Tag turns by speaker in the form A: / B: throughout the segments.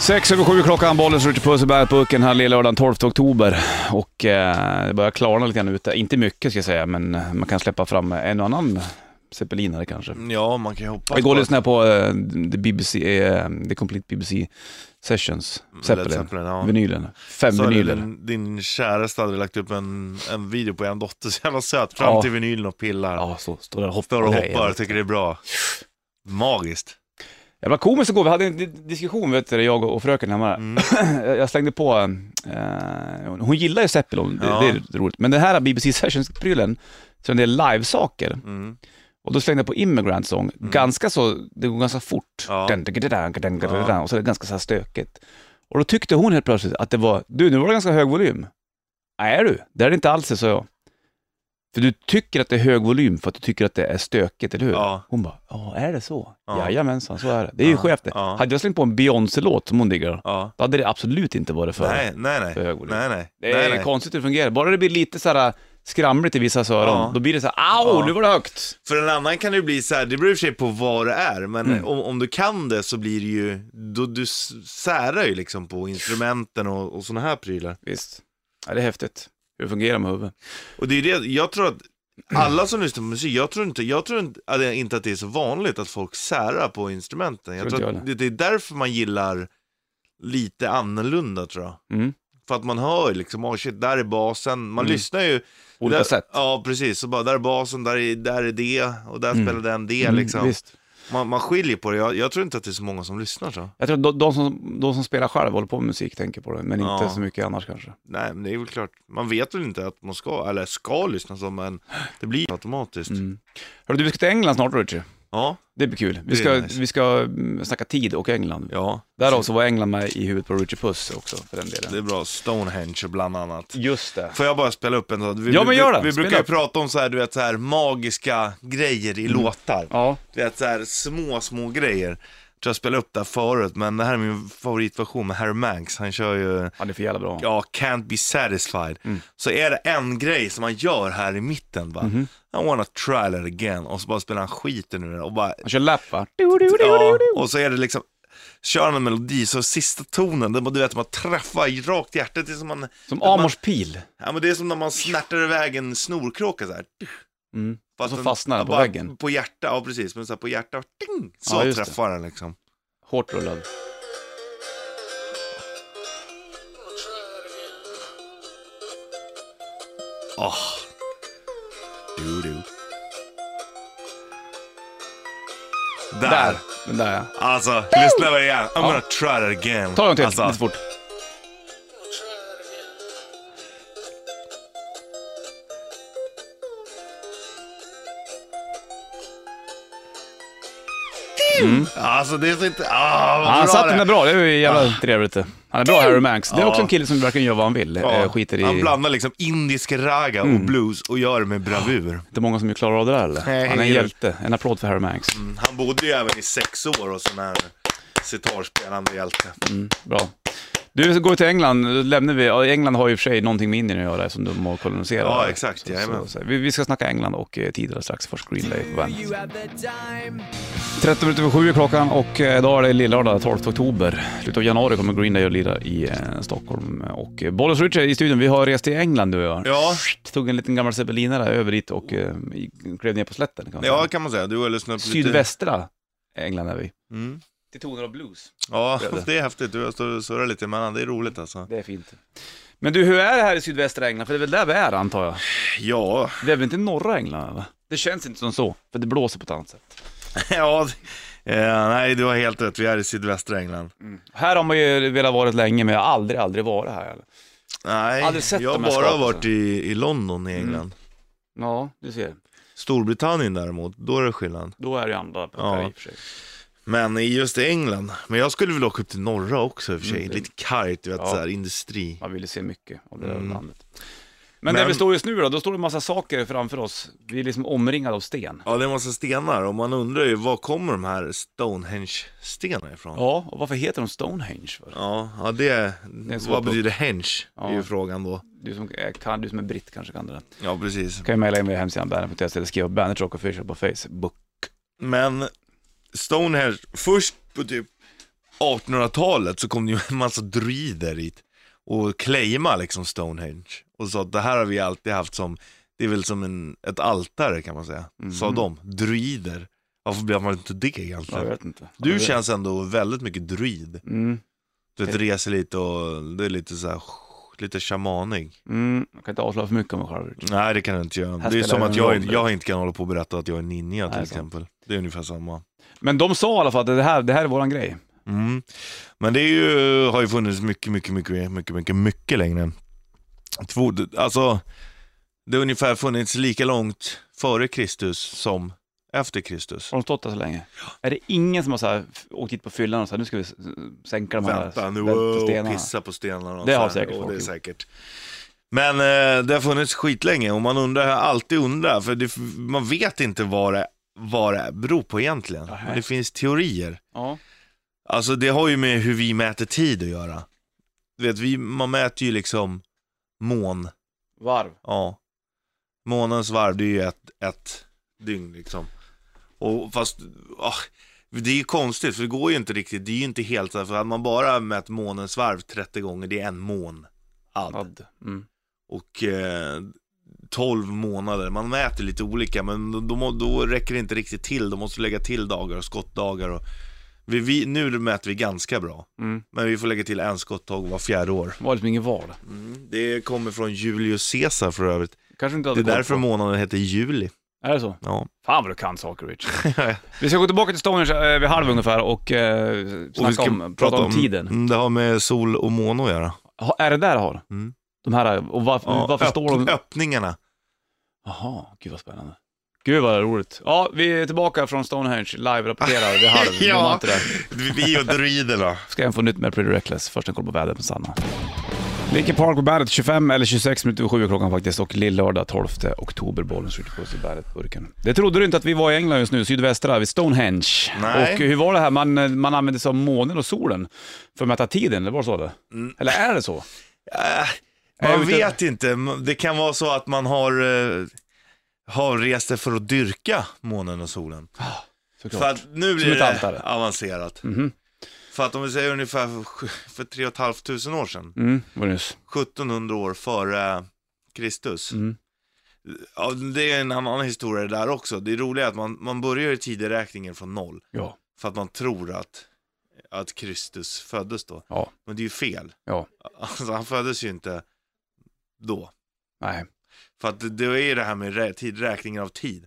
A: Sex över sju klockan, bollen slår till puss i bärpucken här lillördagen 12 oktober. Och eh, det börjar klarna lite grann ute. Inte mycket ska jag säga, men eh, man kan släppa fram en och annan zeppelinare kanske.
B: Ja, man kan ju hoppas
A: Jag går
B: på
A: och lyssnar på eh, the, BBC, eh, the Complete BBC Sessions,
B: Mm, Led
A: Zeppelin,
B: Zeppelin, ja.
A: vinylen. Fem
B: Så hade
A: vinyler.
B: din, din käraste hade lagt upp en, en video på en dotter, så jävla söt, fram
A: Ja.
B: till vinylen och pillar.
A: Ja, så står det och hoppar.
B: Står och
A: Nej,
B: hoppar
A: jag-
B: och tycker det är bra. Magiskt.
A: Jävla komiskt igår, vi hade en di- diskussion vet du, jag och och fröken hemma.
B: Mm.
A: jag slängde på, eh, hon- hon gillar ju Zeppelin, det,
B: Ja.
A: det är roligt. Men den här BBC Sessions-prylen, så en del livesaker.
B: Mm.
A: Och då slängde jag på Immigrant Song, ganska så, det går ganska fort.
B: Ja.
A: Dun, dun, dun, dun, dun, dun,
B: Ja.
A: dun, Och så är det ganska så här stökigt. Och då tyckte hon helt plötsligt att det var, du nu var det ganska hög volym. Nej du, det är det inte alls det, sa jag. För du tycker att det är hög volym för att du tycker att det är stökigt, eller hur?
B: Ja.
A: Hon bara, ja är det så?
B: Ja.
A: Jajamensan, så är det. Det är ju
B: Ja.
A: skevt det.
B: Ja.
A: Hade jag slängt på en Beyoncé-låt som hon diggar,
B: Ja.
A: då hade det absolut inte varit för,
B: Nej, nej, nej.
A: för hög volym.
B: Nej, nej.
A: Det är
B: nej, nej.
A: konstigt hur det fungerar. Bara det blir lite så här äh, skramligt i vissa öron,
B: Ja.
A: då blir det så här, au,
B: Ja.
A: nu var det högt.
B: För en annan kan det ju bli så här, det beror i och för sig på vad det är, men
A: Mm.
B: om, om du kan det så blir det ju, då, du s- särar ju liksom på instrumenten och, och sådana här prylar.
A: Visst. Ja, det är häftigt. Hur det fungerar med huvudet.
B: Och det är det, jag tror att alla som lyssnar på musik, jag tror inte, jag tror inte, att det- inte att det är så vanligt att folk särar på instrumenten. Jag
A: Tror
B: tror
A: inte
B: att
A: jag
B: det, det är därför man gillar lite annorlunda tror jag.
A: Mm.
B: För att man hör liksom, oh shit, där är basen. Man lyssnar ju.
A: Olika
B: där,
A: sätt.
B: Ja, precis. Så bara, där är basen, där är, där är det och där spelar den det liksom.
A: Mm. Visst.
B: Man, man skiljer på det. Jag, jag tror inte att det är så många som lyssnar så.
A: Jag tror att de, de, som, de som spelar själv håller på med musik tänker på det, men inte
B: Ja.
A: så mycket annars kanske.
B: Nej, men det är väl klart. Man vet väl inte att man ska, eller ska lyssna så, men det blir automatiskt.
A: Mm. Hörru du, vi ska till England snart Richie.
B: Ja,
A: Det blir kul. Vi
B: Det
A: ska,
B: är nice.
A: vi ska mm, snacka tid och England.
B: ja.
A: Därav så var England med i huvudet på Richie Puss också för den
B: Det
A: delen.
B: är bra. Stonehenge bland annat.
A: Just det.
B: Får jag bara spela upp en sån? Vi,
A: Ja, men gör det.
B: Vi, vi
A: Spela
B: brukar ju
A: upp. Mm.
B: prata om så här, du vet, så här magiska grejer i låtar.
A: Ja.
B: Du vet så här små, små grejer. Jag tror jag spelade upp det här förut, men det här är min favoritversion med Harry Manx. Han kör ju,
A: ja, det är för jävla bra.
B: ja, Can't Be Satisfied.
A: Mm.
B: Så är det en grej som han gör här i mitten bara.
A: Mhm.
B: I wanna try that again. Och så bara spelar han skiten ur det och bara,
A: Han kör lap va?
B: ja. Och så är det liksom, kör han en melodi, så sista tonen, den, bara- du vet, man träffar rakt i hjärtat. Det är som, man,
A: Som
B: man-
A: Amors pil.
B: Ja, men det är som när man snärtar iväg en snorkråka så här.
A: Mm.
B: Fast
A: Och så
B: den-
A: fastnar den på
B: bara
A: väggen.
B: På hjärta, ja precis. Men så här på hjärta, ding, så
A: Ja, just det.
B: träffar den liksom.
A: Hårt rullad. Ah.
B: Åh. Du, du. Där.
A: Där. Den där ja.
B: Alltså, lyssna på det igen. I'm gonna try that again.
A: Ta den till,
B: Alltså,
A: lite fort.
B: alltså det är så inte... Ah, vad
A: Ja, Han
B: bra
A: satt
B: det.
A: den där bra, det är ju jävla trevligt det. Han är bra Harry Manx. Det är
B: Ja.
A: också en kille som verkligen gör vad han vill.
B: Ja,
A: Eh, Skiter i... Mm.
B: Han blandar liksom indisk raga och blues och gör det med bravur.
A: Inte många som klarar av det där eller? han
B: Nej,
A: är en
B: det är-
A: hjälte. En applåd för Harry Manx.
B: Han bodde ju även i sex år och sån här sitarspelande hjälte.
A: Bra. Du, vi går till England. Då lämnar vi. ja, England har ju i och för sig någonting med Indien att göra som de har koloniserat.
B: Ja, exakt.
A: Så, så,
B: Jajamän.
A: så. Vi, vi ska snacka England och eh, tider alldeles strax. Först Green Day på bandet.
C: You have the time.
A: 13 minuter över sju är klockan och eh, idag är det lillördag 12 oktober. Slutet av januari kommer Green Day att lira i eh, Stockholm. Och eh, Bollnäs Richie i studion, vi har rest till England du och jag.
B: Ja.
A: Tog en liten gammal zeppelinare över dit och eh, i- klev ner på slätten. Kan man säga.
B: Ja, kan man säga. Du har lyssnat på lite...
A: Sydvästra England är vi.
B: Mm.
A: Till toner av blues.
B: Ja,
A: Blev det.
B: det är häftigt. Du har stått och surrat lite emellan. Det är roligt alltså.
A: Det är fint. Men du, hur är det här i sydvästra England? För det är väl där vi är antar jag?
B: Ja,
A: Det är väl inte norra England eller? Det känns inte som så, för det blåser på ett annat sätt.
B: ja det- eh, nej du har helt rätt. Vi är i sydvästra England.
A: Här har man ju velat vara länge, men jag har aldrig, aldrig varit här. Eller?
B: Nej,
A: Aldrig sett
B: jag har
A: de här
B: bara
A: skapelserna. Mm.
B: varit i, i London i England.
A: Ja, du ser.
B: Storbritannien däremot, då är det skillnad.
A: Då är det ju andra puckar
B: Ja.
A: i och för sig.
B: Men i just England, men jag skulle vilja åka upp till norra också i och för sig.
A: Mm.
B: Lite kargt, du vet,
A: Ja.
B: så här, industri.
A: Man ville se mycket av det där
B: Mm.
A: landet. Men, där
B: Men-
A: vi står just nu då, då står det en massa saker framför oss. Vi är liksom omringade av sten.
B: Ja, det är en massa stenar och man undrar ju, var kommer de här Stonehenge-stenarna ifrån?
A: Ja, och varför heter de Stonehenge? För?
B: Ja, ja det,
A: en svår
B: vad
A: punkt.
B: betyder henge? är
A: Ja.
B: ju frågan då.
A: Du, som är, kan, du som är britt kanske kan det där.
B: Ja, precis.
A: kan ju mejla in via hemsidan bandet.se eller skriva bandet Rock Official på Facebook.
B: Men Stonehenge, först på typ 1800-talet så kom det ju en massa druider hit och claima liksom Stonehenge och sa att det här har vi alltid haft som, det är väl som en, ett altare kan man säga, sa
A: Mhm.
B: de, druider. Varför blev man inte det
A: Jag
B: egentligen?
A: vet inte.
B: Du känns ändå väldigt mycket druid.
A: Mm,
B: Du vet, reser lite och det är lite så här, lite shamanig.
A: mm. Jag kan inte avslöja för mycket om mig själv.
B: Nej det kan du inte
A: Här
B: göra. Det är
A: spelar
B: som
A: det
B: att
A: ingen
B: jag,
A: roll.
B: jag inte kan hålla på och berätta att jag är ninja till
A: Nej, sant.
B: exempel. Det är ungefär samma.
A: Men de sa i alla fall att det här, det här är våran grej.
B: Mm. Men det är ju, har ju funnits mycket, mycket, mycket, mycket, mycket, mycket längre. Två, alltså, det har ungefär funnits lika långt före Kristus som efter Kristus.
A: Har de stått där så länge? Är det ingen som har så här, f- åkt hit på fyllan och så här, nu ska vi s- s- sänka de här
B: Vänta nu,
A: stenarna?
B: och pissa på stenarna. och
A: Det
B: så
A: har
B: här,
A: säkert
B: och
A: folk
B: det är
A: gjort.
B: säkert. Men eh, det har funnits skitlänge och man undrar, jag har alltid undrar, för det, man vet inte vad det, vad det beror på egentligen.
A: Nej.
B: Men det finns teorier.
A: Ja.
B: Alltså det har ju med hur vi mäter tid att göra. Du vet, vi, man mäter ju liksom mån,
A: Varv.
B: ja. Månens varv, det är ju ett, ett dygn liksom. Och fast, ah, det är ju konstigt för det går ju inte riktigt, det är ju inte helt så här, för hade man bara mätt månens varv 30 gånger, det är en mån. Ad.
A: Vad? Mm.
B: Och eh, 12 månader, man mäter lite olika men då, då, må- då räcker det inte riktigt till, då måste du lägga till dagar och skottdagar och vi, vi, nu mäter vi ganska bra.
A: Mm.
B: Men vi får lägga till en skottdag var fjärde år.
A: Det var liksom ingen val.
B: Mm. Det kommer från Julius Caesar för övrigt.
A: Kanske inte
B: Det
A: hade
B: är
A: koll
B: därför
A: på.
B: månaden heter juli.
A: Är det så?
B: Ja.
A: Fan vad du kan saker Rich. Vi ska gå tillbaka till Stonehenge eh, vid halv ungefär och eh, snacka
B: Och vi ska
A: om, prata, om, tiden.
B: Mm, Det har med sol och måne att göra.
A: Ha, är det där det har?
B: Mm.
A: De här, och varför,
B: Ja,
A: varför står de...
B: Öppningarna.
A: Jaha, gud vad spännande. Gud vad roligt. Ja, vi är tillbaka från Stonehenge, live-rapporterar vid halv.
B: Ja.
A: Glöm inte det.
B: Vi och druiderna.
A: Ska jag få nytt med Pretty Reckless. Först en koll på vädret med Sanna. Linkin Park på bandet 25 eller 26 minuter över sju är klockan faktiskt och lill-lördag 12 oktober, bollen skjuter på sig i bandet-burken. Det trodde du inte att vi var i England just nu, sydvästra, vid Stonehenge.
B: Nej.
A: Och hur var det här, man, man använde sig av månen och solen för att mäta tiden, eller var det så det? Eller är det så?
B: Äh,
A: Jag
B: man
A: vet
B: Mm. vet inte. Det kan vara så att man har, eh, har rest det för att dyrka månen och solen.
A: Såklart.
B: För att nu
A: Som
B: blir
A: ett altare.
B: det avancerat.
A: Mhm.
B: För att om vi säger ungefär för- för 3 500 år sedan.
A: Mm, var det nyss.
B: 1700 år före Kristus.
A: Mm.
B: Ja, det är en annan historia det där också. Det roliga är att man, man börjar i tideräkningen från noll
A: Ja.
B: för att man tror att, att Kristus föddes då.
A: Ja.
B: Men det är ju fel.
A: Ja.
B: Alltså, han föddes ju inte då.
A: Nej.
B: För att det, det är ju det här med rä- tidräkningen av tid.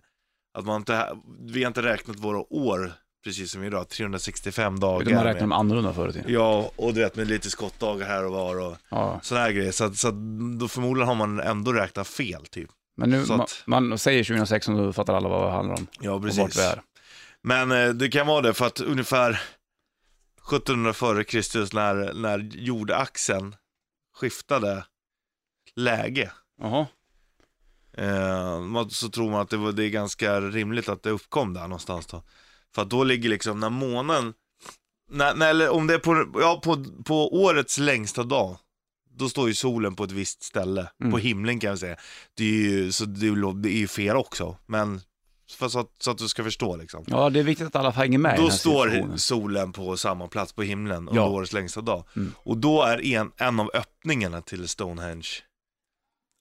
B: Att man inte, vi har inte räknat våra år precis som idag, 365 dagar.
A: Utan man räknar
B: med-
A: dem annorlunda förr i tiden.
B: Ja, och du vet med lite skottdagar här och var och
A: Ja.
B: sådana här grejer. Så, att, så att, då förmodligen har man ändå räknat fel typ.
A: Men nu,
B: Så att-
A: man, man säger 2016 då fattar alla vad det handlar om.
B: Ja,
A: Och vart vi
B: precis.
A: är.
B: Men eh, det kan vara det för att ungefär 1700 före Kristus när, när jordaxeln skiftade läge
A: Jaha.
B: eh, man- så tror man att det, var, det är ganska rimligt att det uppkom där någonstans då. För att då ligger liksom när månen, när, när, eller om det är på, ja, på, på årets längsta dag, då står ju solen på ett visst ställe,
A: Mm.
B: på himlen kan jag säga. Det är ju, så det är, ju lov- det är ju fel också, men för, så, att, så att du ska förstå liksom.
A: Ja, det är viktigt att alla hänger med i
B: Då
A: den här
B: står
A: situationen.
B: solen på samma plats på himlen under
A: Ja.
B: årets längsta dag.
A: Mm.
B: Och då är en, en av öppningarna till Stonehenge,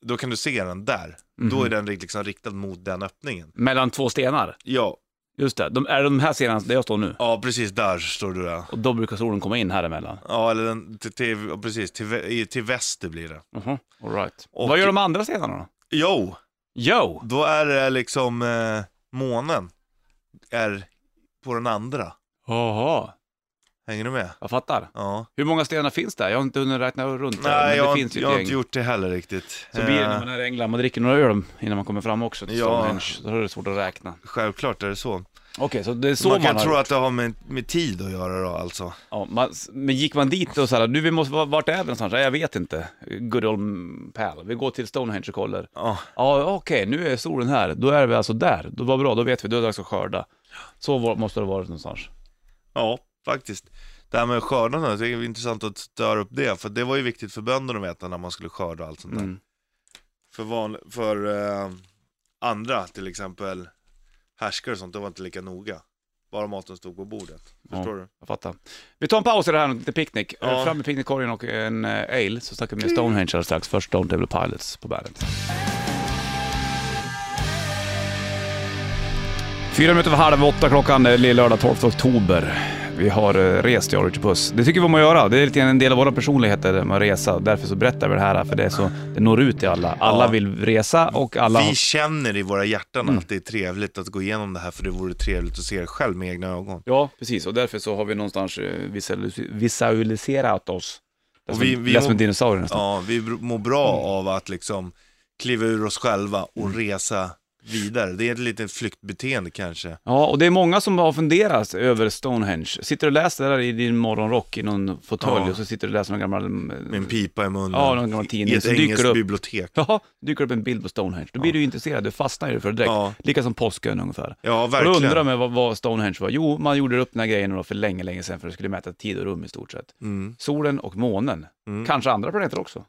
B: då kan du se den där. Då är den ri- liksom riktad mot den öppningen.
A: Mhm. Mellan två stenar.
B: Ja,
A: Just det, de, är det de här stenarna där jag står nu?
B: ja precis där står du där.
A: Och då brukar solen komma in här emellan.
B: Ja, eller den, till, till, ja, precis, till, vä- i- till väster blir det.
A: Mhm. All right.
B: Och-
A: Vad gör de andra stenarna då?
B: Jo,
A: Jo!
B: då är det liksom eh, månen är på den andra.
A: Jaha,
B: Hänger du med?
A: jag fattar.
B: Ja.
A: Hur många stenar finns där? Jag har inte hunnit räkna runt där, men
B: Nej, jag,
A: det
B: har
A: finns
B: inte-
A: ju
B: jag
A: ett
B: har
A: gäng.
B: inte gjort det heller riktigt.
A: Så blir det
B: Eh,
A: när man är i England, man dricker några öl innan man kommer fram också till
B: Ja.
A: Stonehenge. Då är det svårt att räkna.
B: Självklart är det så.
A: Okej, så det är så
B: man
A: man,
B: kan
A: har...
B: tro att det har med, med tid att göra då alltså.
A: Ja, man, men gick man dit och såhär, du vi måste, vart är vi någonstans? Nej, Jag vet inte. Good old pal. Vi går till Stonehenge och kollar.
B: Ja,
A: Ja, okej, nu är solen här. Då är vi alltså där. Då var bra, då vet vi, då är det dags att skörda. Så var, måste det vara någonstans.
B: ja faktiskt. Det här med skördarna, det är intressant att störa upp det. För det var ju viktigt för bönderna att veta när man skulle skörda och allt sånt där.
A: Mm.
B: För, van, för eh, andra, till exempel härskare och sånt, det var inte lika noga. Bara maten stod på bordet. Förstår du?
A: Jag fattar. Vi tar en paus i det här och lite picknick.
B: Ja. Mm.
A: Eh, Fram med picknickkorgen och en eh, ale så snackar vi med Stonehenge alldeles strax. Först Stone Devil Pilots på bandet. Fyra minuter över halv åtta klockan, det är lördag 12 oktober. Vi har eh, rest, jag och Richard Puss. Det tycker vi om att göra. Det är lite grann en del av våra personligheter, med att resa. Därför så berättar vi det här, för det, är så, det når ut till alla. Alla
B: Ja.
A: vill resa och alla... Mm.
B: Vi känner i våra hjärtan att det är trevligt att gå igenom det här för det vore trevligt att se det själv med egna ögon.
A: Ja, precis. Och därför så har vi någonstans eh, visualis- visualiserat oss. Det är
B: Och
A: som,
B: vi- vi
A: det är som
B: må-
A: en dinosaurie nästan.
B: Ja, vi br- mår bra av att liksom kliva ur oss själva
A: Mm.
B: och resa vidare. Det är ett litet flyktbeteende kanske.
A: Ja, och det är många som har funderat över Stonehenge. Sitter du och läser det där i din morgonrock i någon fåtölj
B: Ja.
A: och så sitter du och läser någon gammal... mm,
B: Med en pipa i munnen.
A: Ja, någon gammal
B: I
A: tidning.
B: ett
A: Så dyker
B: engelskt
A: det upp,
B: bibliotek.
A: ja, dyker upp en bild på Stonehenge. Då blir du ju intresserad, du fastnar i det för det direkt.
B: Ja.
A: Lika som påskön ungefär.
B: Ja,
A: Och då
B: verkligen.
A: undrar man vad, vad Stonehenge var. Jo, man gjorde upp den här grejen då för länge, länge sedan för det skulle mäta tid och rum i stort sett.
B: Mm.
A: Solen och månen.
B: Mm.
A: Kanske andra planeter också.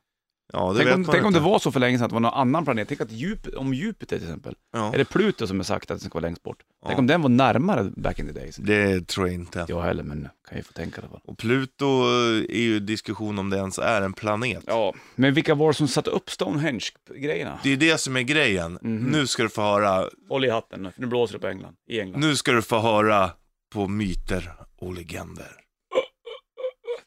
B: Ja, det
A: Tänk,
B: vet
A: om,
B: man
A: tänk om det
B: inte.
A: var så för länge sedan att det var någon annan planet. Tänk att Jup, om Jupiter till exempel,
B: Ja.
A: eller Pluto som är sagt att den ska vara längst bort. Tänk
B: Ja. Mm.
A: om den var närmare back in the days.
B: Det tror jag inte.
A: Jag heller, men kan ju få tänka det bara.
B: Och Pluto eh, är ju diskussion om det ens är en planet.
A: Ja, men vilka var det som satte upp Stonehenge-grejerna?
B: Det är det som är grejen. Nu ska du få höra,
A: Håll i hatten nu, för nu blåser det på England. I England.
B: nu ska du få höra på myter och legender.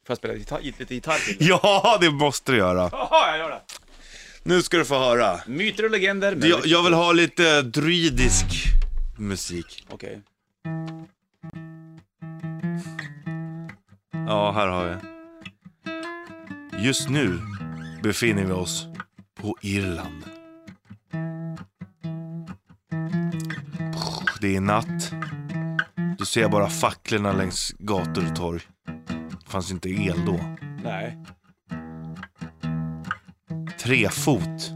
A: Får jag spela gitarr, lite gitarr till?
B: Ja, det måste du göra.
A: Jaha, jag gör det!
B: Nu ska du få höra.
A: Myter och legender. men-
B: Jag, jag vill ha lite druidisk musik.
A: Okej.
B: Ja, här har jag. Just nu befinner vi oss på Irland. Det är natt. Du ser bara facklorna längs gator och torg. Det fanns inte el då.
A: Nej.
B: Trefot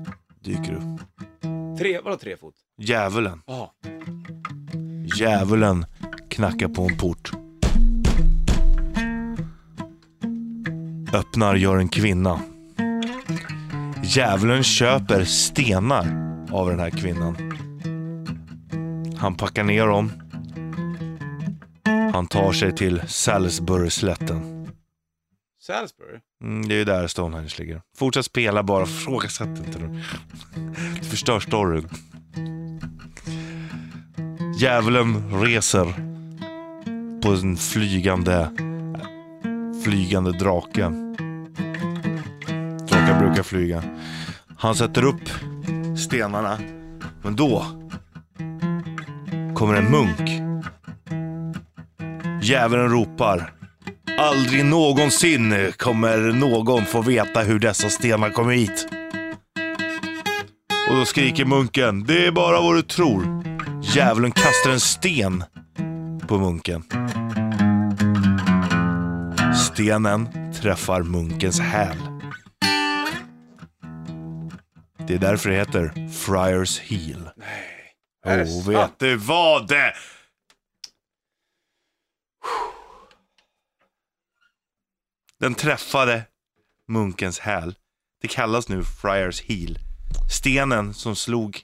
B: dyker upp.
A: Tre, vadå tre fot?
B: Djävulen.
A: Jaha.
B: Djävulen knackar på en port. Öppnar gör en kvinna. Djävulen köper stenar av den här kvinnan. Han packar ner dem. Han tar sig till Salisbury-slätten.
A: Salisbury?
B: Mm, det är ju där Stonehenge ligger. Fortsätt spela bara, frågasätt inte nu. Du förstör storyn. Djävulen reser på en flygande, flygande drake. Drakar brukar flyga. Han sätter upp stenarna. Men då kommer en munk. Djävulen ropar. Aldrig någonsin kommer någon få veta hur dessa stenar kommer hit. Och då skriker munken. Det är bara vad du tror. Djävulen kastar en sten på munken. Stenen träffar munkens häl. Det är därför det heter Friars Heel.
A: Är det
B: Nej.
A: sant?
B: Oh, vet du vad det... Den träffade munkens häl. Det kallas nu Friars Heel. Stenen som slog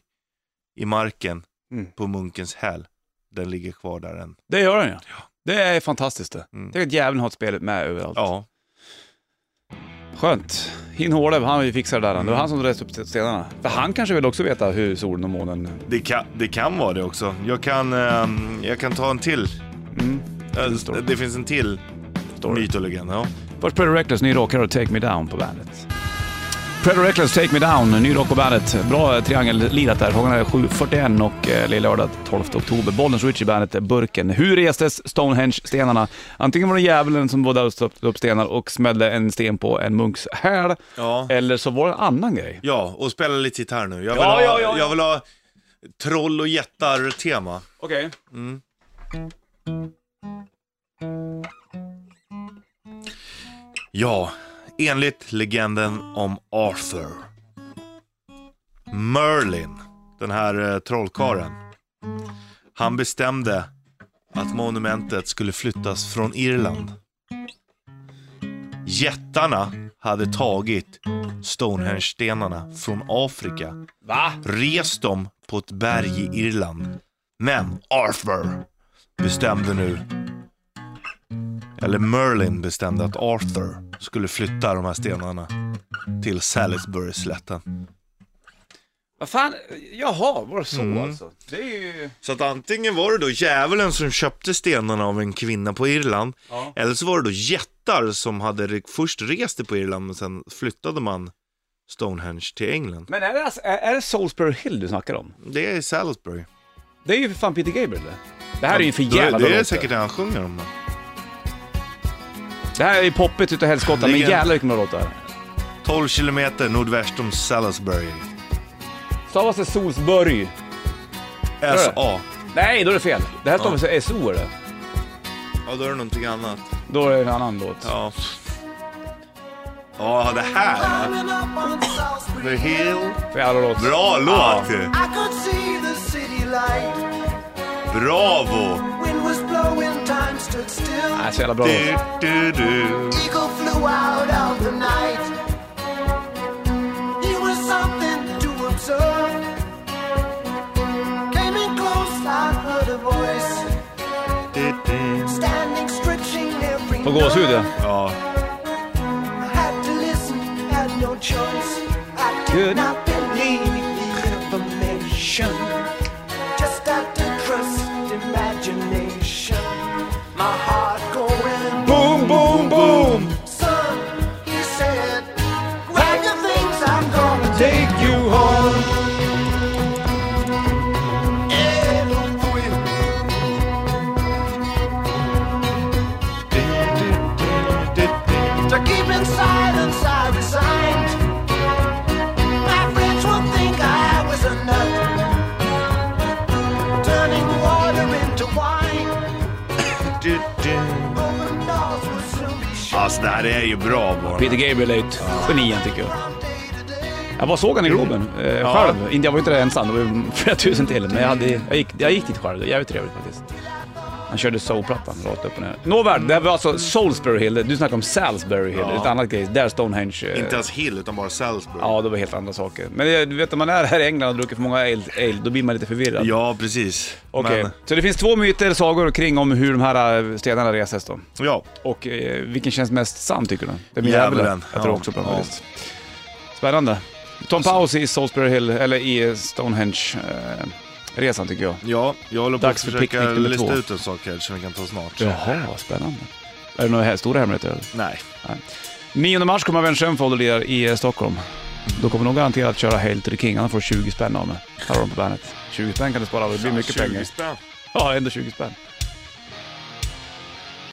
B: i marken
A: Mm.
B: på munkens häl, den ligger kvar där än.
A: Det gör den ja. Det är fantastiskt det.
B: Mm.
A: Tänk att djävulen har ett spel med överallt.
B: Ja.
A: Skönt. Hin Hårde, han har ju fixat det där. han. Det var han som reste upp stenarna. För han kanske vill också veta hur solen och månen...
B: Det kan, det kan vara det också. Jag kan, ehm, jag kan ta en till.
A: Mm.
B: Eh,
A: story.
B: Det finns en till
A: Story.
B: myt och legend. Ja.
A: Först Predator Reckless, ny rock. Här har du Take Me Down på bandet. Predator Reckless, Take Me Down, ny rock på bandet. Bra eh, triangellirat där. Klockan är 7.41 och eh, lilla lördag 12 oktober. Bollens Richie bandet, eh, Burken. Hur restes Stonehenge-stenarna? Antingen var det djävulen som var där och stoppade upp stenar och smällde en sten på en munks häl,
B: Ja.
A: eller så var det en annan grej.
B: ja, och spela lite gitarr nu. Jag vill,
A: Ja,
B: ha,
A: ja, ja, ja.
B: jag vill ha troll och jättar-tema.
A: Okej.
B: Ja, enligt legenden om Arthur. Merlin, den här eh, trollkaren. Han bestämde att monumentet skulle flyttas från Irland. Jättarna hade tagit Stonehenge-stenarna från Afrika
A: Va?
B: rest dem på ett berg i Irland. Men Arthur, bestämde nu, eller Merlin bestämde att Arthur skulle flytta de här stenarna till Salisbury-slätten.
A: Vad fan, jaha, var det så
B: Mm.
A: alltså? Det är ju...
B: Så att antingen var det då djävulen som köpte stenarna av en kvinna på Irland,
A: Ja.
B: eller så var det då jättar som hade re- först rest det på Irland, men sen flyttade man Stonehenge till England.
A: Men är det, alltså, är, är det Salisbury Hill du snackar om?
B: Det är Salisbury.
A: Det är ju för fan Peter Gabriel det. Det här är ju för
B: Då
A: jävla
B: Det, det
A: bra
B: är
A: låt,
B: säkert det han sjunger om.
A: Det här är ju poppigt utav helskotta, men
B: Ligger-
A: jävlar vilken bra låt det här är.
B: 12 kilometer nordväst om Salisbury.
A: Stavas det Solsborg?
B: S.A.
A: Nej, då är det fel. Det här stavas det SO är det.
B: Ja, då är det någonting annat.
A: Då är det en annan låt.
B: Ja. Ja, det här.
C: Climbing up on Salisbury
B: The Hill.
A: För jävla låt.
B: Bra
A: Ja.
B: låt!
C: I could see the city light.
B: Bravo!
C: Wind was blowing, time stood still.
A: Nej, så jävla bra låt.
B: Du, du, du.
C: Eagle flew out of the night. He was something to observe. Came in close, I heard a voice.
B: du, du.
C: Standing, stretching every
A: Får gåshud ja.
B: Ja,
C: Had to listen, had no choice. I did
A: Good.
C: not believe the information. Just had to trust imagination. My heart going
A: Boom, boom, boom!
C: son. He said, Grab your things, I'm gonna take
A: you home
C: it with To keep in silence, I resigned. My friends would think I was a nut. Turning water into wine.
B: du, du.
C: Open doors would soon be shut
B: Alltså det här är ju bra barn.
A: Peter Gabriel är ett geni han, tycker jag.
C: from day to day.
A: Jag bara såg han i Globen, eh,
B: Ja.
A: själv. Inte, jag var inte där ensam, det var ju flera tusen till. Men jag, hade, jag, gick, jag gick dit själv, det var jävligt trevligt faktiskt. Han körde soulplattan rakt upp och ner. Nåväl, det här var alltså Salisbury Hill, du snackade om Salisbury Hill,
B: Ja.
A: ett annat grej. Där Stonehenge... eh,
B: Inte ens Hill utan bara Salisbury.
A: Ja, det var helt andra saker. Men eh, du vet, när man är här i England och druckit för många ale, ale då blir man lite förvirrad.
B: Ja, precis.
A: Okej,
B: Men,
A: så det finns två myter, sagor kring om hur de här eh, stenarna reses då.
B: ja.
A: Och eh, vilken känns mest sann tycker du? Det blir
B: Djävulen.
A: djävulen. Jag tror
B: Ja,
A: också på den
B: ja.
A: faktiskt. Spännande. Tom Paus i Salisbury Hill, eller i Stonehenge-resan tycker jag.
B: ja, jag håller på
A: Dags
B: att
A: för
B: försöka
A: picknick nummer två.
B: lista ut en sak här som vi kan ta snart.
A: Jaha, vad spännande. Är det några här stora hemligheter? eller?
B: Nej.
A: 9 mars kommer Avenge Sevenfold och lirar i eh, Stockholm. Då kommer de garanterat köra Hail to the King, han får 20 spänn av mig. Här har de på bandet. 20 spänn kan du spara, det blir mycket
B: 20
A: pengar.
B: spänn.
A: Ja, ändå 20 spänn.